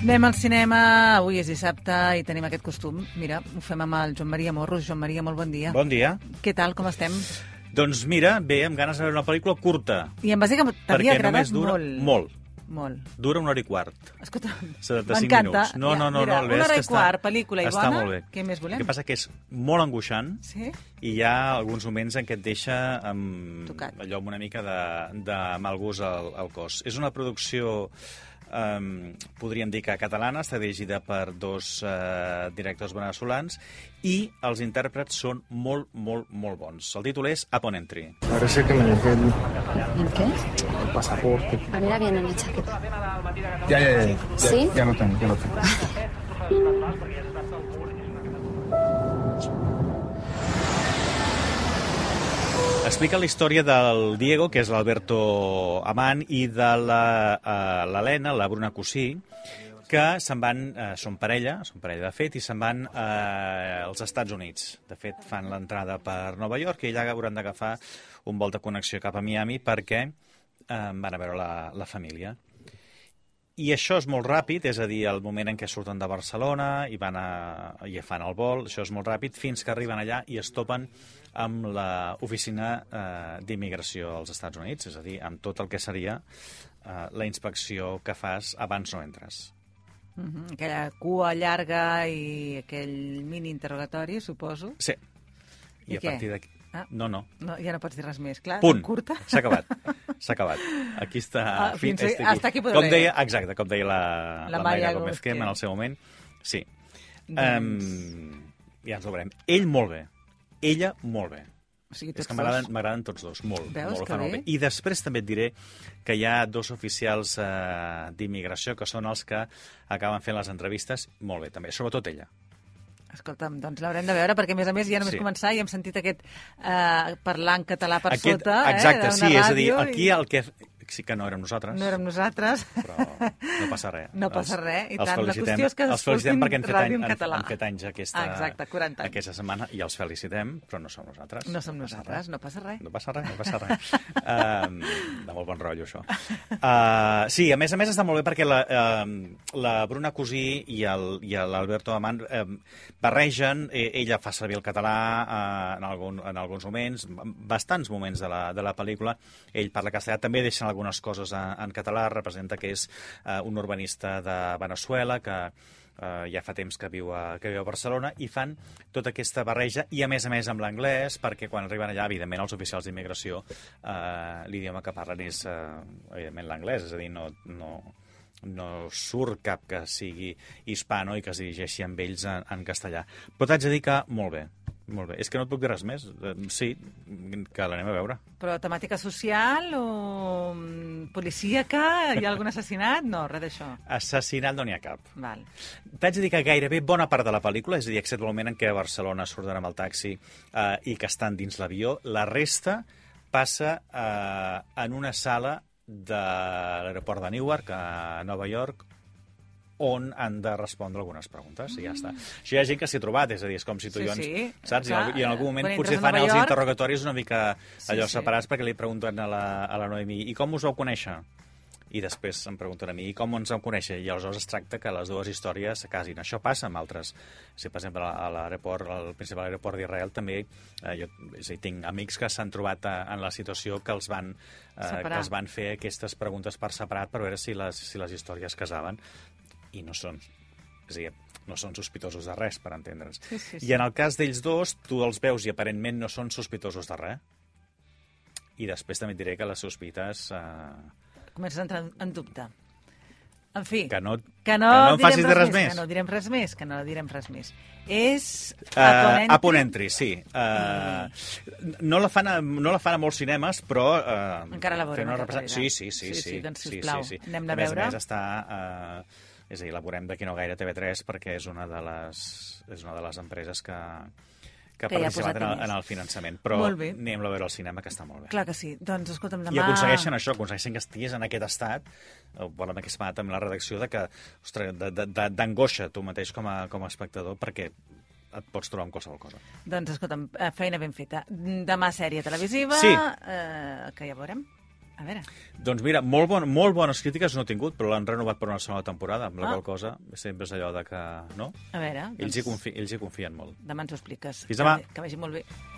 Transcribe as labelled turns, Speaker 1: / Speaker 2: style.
Speaker 1: Anem al cinema, avui és dissabte i tenim aquest costum. Mira, ho fem amb el Joan Maria Morros. Joan Maria, molt bon dia.
Speaker 2: Bon dia.
Speaker 1: Què tal, com estem?
Speaker 2: Doncs mira, bé, amb ganes de veure una pel·lícula curta.
Speaker 1: I em vas dir que t'havia
Speaker 2: perquè
Speaker 1: agradat
Speaker 2: només dura...
Speaker 1: molt.
Speaker 2: Molt.
Speaker 1: Molt.
Speaker 2: Dura una hora i quart.
Speaker 1: Escolta,
Speaker 2: 75
Speaker 1: m'encanta.
Speaker 2: minuts. No,
Speaker 1: Mira,
Speaker 2: no, no,
Speaker 1: mira,
Speaker 2: no, el ves
Speaker 1: una hora
Speaker 2: que
Speaker 1: i
Speaker 2: està-
Speaker 1: quart, pel·lícula i
Speaker 2: està
Speaker 1: bona.
Speaker 2: molt bé.
Speaker 1: Què més volem?
Speaker 2: El que passa que és molt angoixant
Speaker 1: Sí?
Speaker 2: i hi ha alguns moments en què et deixa amb,
Speaker 1: Tocat.
Speaker 2: allò amb una mica de, de mal gust al, al cos. És una producció Um, podríem dir que catalana, està dirigida per dos uh, directors veneçolans i els intèrprets són molt, molt, molt bons. El títol és Upon Entry.
Speaker 3: Parece que me dejé el,
Speaker 4: ¿El qué?
Speaker 3: el pasaporte.
Speaker 4: A mí la viene en la chaqueta.
Speaker 3: Ya, ya, ya. ya
Speaker 4: ¿Sí?
Speaker 3: Ya lo tengo, ya lo tengo.
Speaker 2: Explica la història del Diego, que és l'Alberto Amant, i de l'Helena, la, eh, l'Helena, la Bruna Cosí, que se'n van, eh, són parella, són parella de fet, i se'n van eh, als Estats Units. De fet, fan l'entrada per Nova York i allà hauran d'agafar un vol de connexió cap a Miami perquè eh, van a veure la, la família. I això és molt ràpid, és a dir, el moment en què surten de Barcelona i van a, i fan el vol, això és molt ràpid, fins que arriben allà i es topen amb l'oficina eh, d'immigració als Estats Units, és a dir, amb tot el que seria eh, la inspecció que fas abans no entres.
Speaker 1: Mhm, Aquella cua llarga i aquell mini interrogatori, suposo.
Speaker 2: Sí. I,
Speaker 1: I
Speaker 2: a
Speaker 1: què?
Speaker 2: partir d'aquí...
Speaker 1: Ah.
Speaker 2: No, no.
Speaker 1: No, ja no pots dir res més, clar.
Speaker 2: Punt.
Speaker 1: Curta.
Speaker 2: S'ha acabat. S'ha acabat. Aquí està.
Speaker 1: Ah,
Speaker 2: fi-
Speaker 1: fins a-
Speaker 2: està
Speaker 1: hasta aquí podré
Speaker 2: com
Speaker 1: leer.
Speaker 2: deia, exacte, com deia la,
Speaker 1: La
Speaker 2: la, la
Speaker 1: Maya
Speaker 2: Maia
Speaker 1: Gómez
Speaker 2: Gómez Kem
Speaker 1: Kem.
Speaker 2: en el seu moment. Sí.
Speaker 1: Doncs-
Speaker 2: Em, ja ens ho veurem. Ell molt bé. Ella molt bé.
Speaker 1: O sigui,
Speaker 2: És
Speaker 1: tots
Speaker 2: que
Speaker 1: dos.
Speaker 2: m'agraden m'agraden tots dos, molt.
Speaker 1: Veus
Speaker 2: molt, ho
Speaker 1: que
Speaker 2: fan molt
Speaker 1: bé?
Speaker 2: bé. I després també et diré que hi ha dos oficials eh, d'immigració que són els que acaben fent les entrevistes molt bé, també, sobretot ella.
Speaker 1: Escolta'm, doncs l'haurem de veure, perquè a més a més ja només
Speaker 2: Sí.
Speaker 1: començar i hem sentit aquest eh, parlar en català per sota.
Speaker 2: exacte,
Speaker 1: eh, d'una
Speaker 2: sí, és a dir,
Speaker 1: ràdio
Speaker 2: aquí
Speaker 1: i
Speaker 2: el que... Sí que no érem nosaltres.
Speaker 1: No érem nosaltres.
Speaker 2: però no passa res.
Speaker 1: No passa
Speaker 2: Els-
Speaker 1: res, i
Speaker 2: els
Speaker 1: tant. La
Speaker 2: felicitem-
Speaker 1: qüestió és que
Speaker 2: els felicitem
Speaker 1: escoltin
Speaker 2: perquè han fet,
Speaker 1: ràdio en
Speaker 2: any, han,
Speaker 1: català.
Speaker 2: han fet anys aquesta,
Speaker 1: Ah, exacte, 40 anys.
Speaker 2: aquesta setmana i els felicitem, però no som nosaltres.
Speaker 1: No som
Speaker 2: passa
Speaker 1: nosaltres,
Speaker 2: res.
Speaker 1: no passa res.
Speaker 2: No passa res, no passa res. uh, de molt bon rotllo, això. Uh, sí, a més a més està molt bé perquè la, uh, la Bruna Cosí i el- i l'Alberto Amant uh, barregen, eh, ella fa servir el català uh, en, algun, en alguns moments, bastants moments de la, de la pel·lícula, ell parla castellà, també deixen algunes coses en, en català, representa que és uh, un urbanista de Venezuela que eh, ja fa temps que viu, a, que viu a Barcelona, i fan tota aquesta barreja, i a més a més amb l'anglès, perquè quan arriben allà, evidentment, els oficials d'immigració, eh, l'idioma que parlen és, eh, evidentment, l'anglès, és a dir, no, no, no surt cap que sigui hispano i que es dirigeixi amb ells en, en castellà. Però t'haig de dir que molt bé, molt bé. És que no et puc dir res més. Eh, Sí, que l'anem a veure.
Speaker 1: Però temàtica social o mm, policíaca? Hi ha algun assassinat? No, res d'això.
Speaker 2: Assassinat no n'hi ha cap.
Speaker 1: Val.
Speaker 2: T'haig de dir que gairebé bona part de la pel·lícula, és a dir, excepte el moment en què a Barcelona surten amb el taxi eh, i que estan dins l'avió, la resta passa eh, en una sala de l'aeroport de Newark, a Nova York, on han de respondre algunes preguntes, i ja està. Això hi ha gent que s'hi ha trobat, és a dir, és com si tu
Speaker 1: Mm. Sí,
Speaker 2: i jo ens-
Speaker 1: sí,
Speaker 2: saps? I, en
Speaker 1: clar,
Speaker 2: algú- I en algun moment
Speaker 1: quan entres
Speaker 2: potser
Speaker 1: a
Speaker 2: fan
Speaker 1: Nova
Speaker 2: els
Speaker 1: York-
Speaker 2: interrogatoris una mica
Speaker 1: Sí,
Speaker 2: allò
Speaker 1: sí.
Speaker 2: separats perquè li pregunten a la, a la Noemi i com us vau conèixer? i després em pregunten a mi com ens vam conèixer i aleshores es tracta que les dues històries se casin. Això passa amb altres. Si, per exemple, a l'aeroport, al principal aeroport d'Israel també, eh, jo és a dir, tinc amics que s'han trobat eh, en la situació que els van, eh,
Speaker 1: Separar.
Speaker 2: que els van fer aquestes preguntes per separat per veure si les, si les històries casaven i no són, és a dir, no són sospitosos de res, per entendre's.
Speaker 1: Sí, sí, sí.
Speaker 2: I en el cas d'ells dos, tu els veus i aparentment no són sospitosos de res. I després també et diré que les sospites... Eh,
Speaker 1: Comences a entrar en dubte. En fi,
Speaker 2: que no,
Speaker 1: que no,
Speaker 2: que no em
Speaker 1: direm
Speaker 2: facis dir res
Speaker 1: Que
Speaker 2: més.
Speaker 1: no direm res més, que no direm res més. És...
Speaker 2: Uh,
Speaker 1: Aponent-
Speaker 2: a Ponentry, sí. Uh, no, la fan a, no la fan a molts cinemes, però... Uh,
Speaker 1: Encara la veurem,
Speaker 2: fent una
Speaker 1: en
Speaker 2: represent-
Speaker 1: realitat.
Speaker 2: Sí, sí, sí.
Speaker 1: Sí,
Speaker 2: sí,
Speaker 1: sí, doncs, sisplau, anem-la
Speaker 2: a
Speaker 1: a
Speaker 2: més
Speaker 1: veure.
Speaker 2: A més, està... Uh, és a dir, la veurem d'aquí no gaire a TV3 perquè és una de les, és una de les empreses que, que, ha
Speaker 1: Que hi ha
Speaker 2: participat
Speaker 1: posat
Speaker 2: en el,
Speaker 1: diners.
Speaker 2: en el finançament. Però
Speaker 1: Molt bé.
Speaker 2: anem-la a veure al cinema, que està molt bé.
Speaker 1: Clar que sí. Doncs escolta'm, demà...
Speaker 2: I aconsegueixen això, aconsegueixen que estiguis en aquest estat, eh, bueno, en aquest estat amb la redacció, de que, ostres, de- de- de- d'angoixa tu mateix com a, com a espectador, perquè et pots trobar amb qualsevol cosa.
Speaker 1: Doncs escolta'm, eh, feina ben feta. Demà sèrie televisiva,
Speaker 2: Sí.
Speaker 1: eh, que ja veurem. A veure,
Speaker 2: Doncs mira, molt, bon, molt bones crítiques no ha tingut, però l'han renovat per una segona temporada, amb la
Speaker 1: Ah.
Speaker 2: qual cosa sempre és allò de que... No?
Speaker 1: a veure. doncs
Speaker 2: Ells, hi confi ells hi confien molt.
Speaker 1: Demà ens ho expliques.
Speaker 2: Fins demà.
Speaker 1: Que, que vagi molt bé.